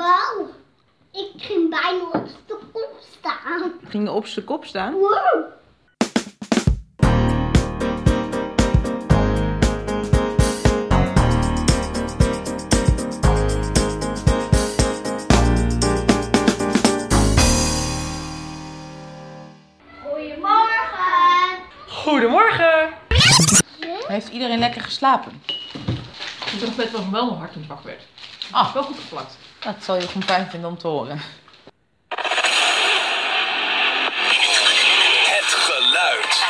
Wauw, ik ging bijna op de kop staan. Ging op zijn kop staan? Wow. Goedemorgen. Goedemorgen! Ja? Heeft iedereen lekker geslapen? Ik dacht net dat wel mijn hart in het bak werd. Ah, Wel goed geplakt. dat zal je gewoon fijn vinden om te horen. Het geluid.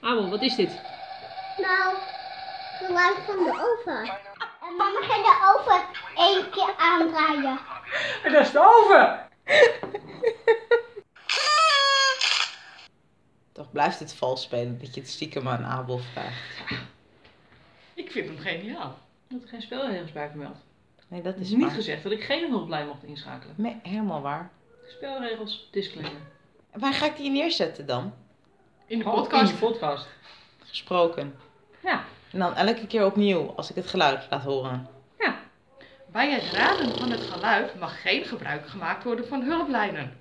Amon, wat is dit? Nou, geluid van de oven. En mama ging de oven één keer aandraaien. Dat is de oven! Toch blijft het vals spelen dat je het stiekem aan Abel vraagt. Ik vind hem geniaal. Dat er geen spelregels bij vermeld. Nee, dat Het is is niet waar. gezegd dat ik geen hulplijn mocht inschakelen. Nee, helemaal waar. Spelregels, disclaimer. En Waar ga ik die neerzetten dan? In de podcast. In de podcast. Gesproken. Ja. En dan elke keer opnieuw als ik het geluid laat horen. Bij het raden van het geluid mag geen gebruik gemaakt worden van hulplijnen.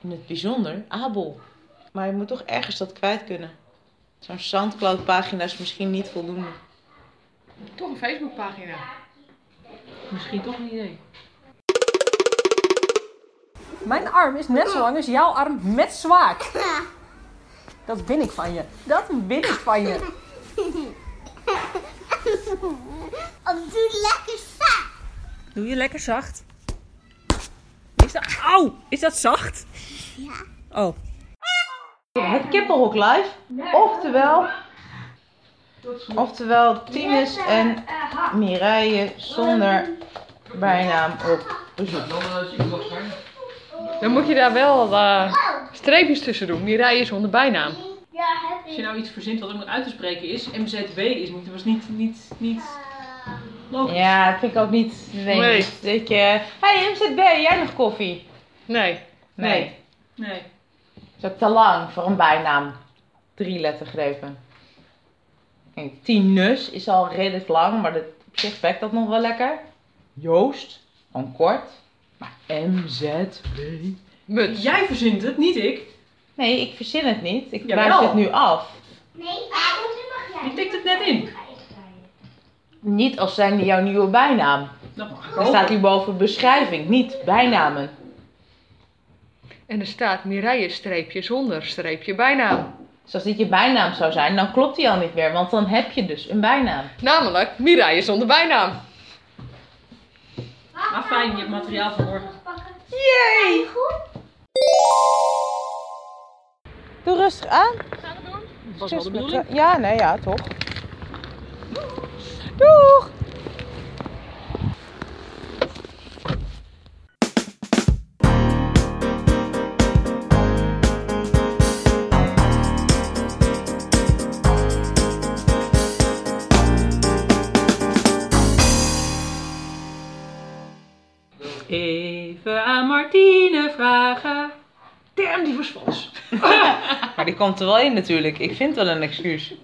In het bijzonder Abel. Maar je moet toch ergens dat kwijt kunnen. Zo'n Soundcloud pagina is misschien niet voldoende. Toch een Facebookpagina. Misschien toch een idee. Mijn arm is net zo lang als jouw arm met zwaak. Dat win ik van je. Dat win ik van je. Of doe lekker zacht. Doe je lekker zacht. Is dat... Auw! Is dat zacht? Ja. Oh. Het Kippenhok Live. Oftewel. Oftewel Tinus en Mireille zonder bijnaam op bezoek. Dan moet je daar wel eh, streepjes tussen doen. Mireille is onder bijnaam. Ja, heb Als je nou iets verzint wat ook nog uit te spreken is, MZW is niet, was niet, niet, niet logisch. Ja, dat vind ik ook niet. Nee. Nee. niet Dat je. Hey MZB, jij nog koffie? Nee. Nee. Nee. Nee. Dat is ook te lang voor een bijnaam. Drie lettergrepen. Kijk, Tinus is al redelijk lang, maar dat, op zich werkt dat nog wel lekker. Joost, gewoon kort. Maar MZB. Muts. Jij verzint het, niet ik. Nee, ik verzin het niet. Ik Jawel. maak het nu af. Nee, waarom mag jij? Je tikt het net in. Niet als zijn jouw nieuwe bijnaam. Dat mag ik Er staat ook. hier boven beschrijving, niet bijnamen. En er staat Mireille streepje zonder streepje bijnaam. Dus als dit je bijnaam zou zijn, dan klopt die al niet meer, want dan heb je dus een bijnaam. Namelijk Mireille zonder bijnaam. Maar fijn, je hebt materiaal van morgen. Yay! Doe rustig aan. Was wel de Excuus, bedoeling. met- Ja, nee, ja, toch. Doeg! Even aan Martine vragen. Damn, die was vals. Maar die komt er wel in natuurlijk. Ik vind wel een excuus.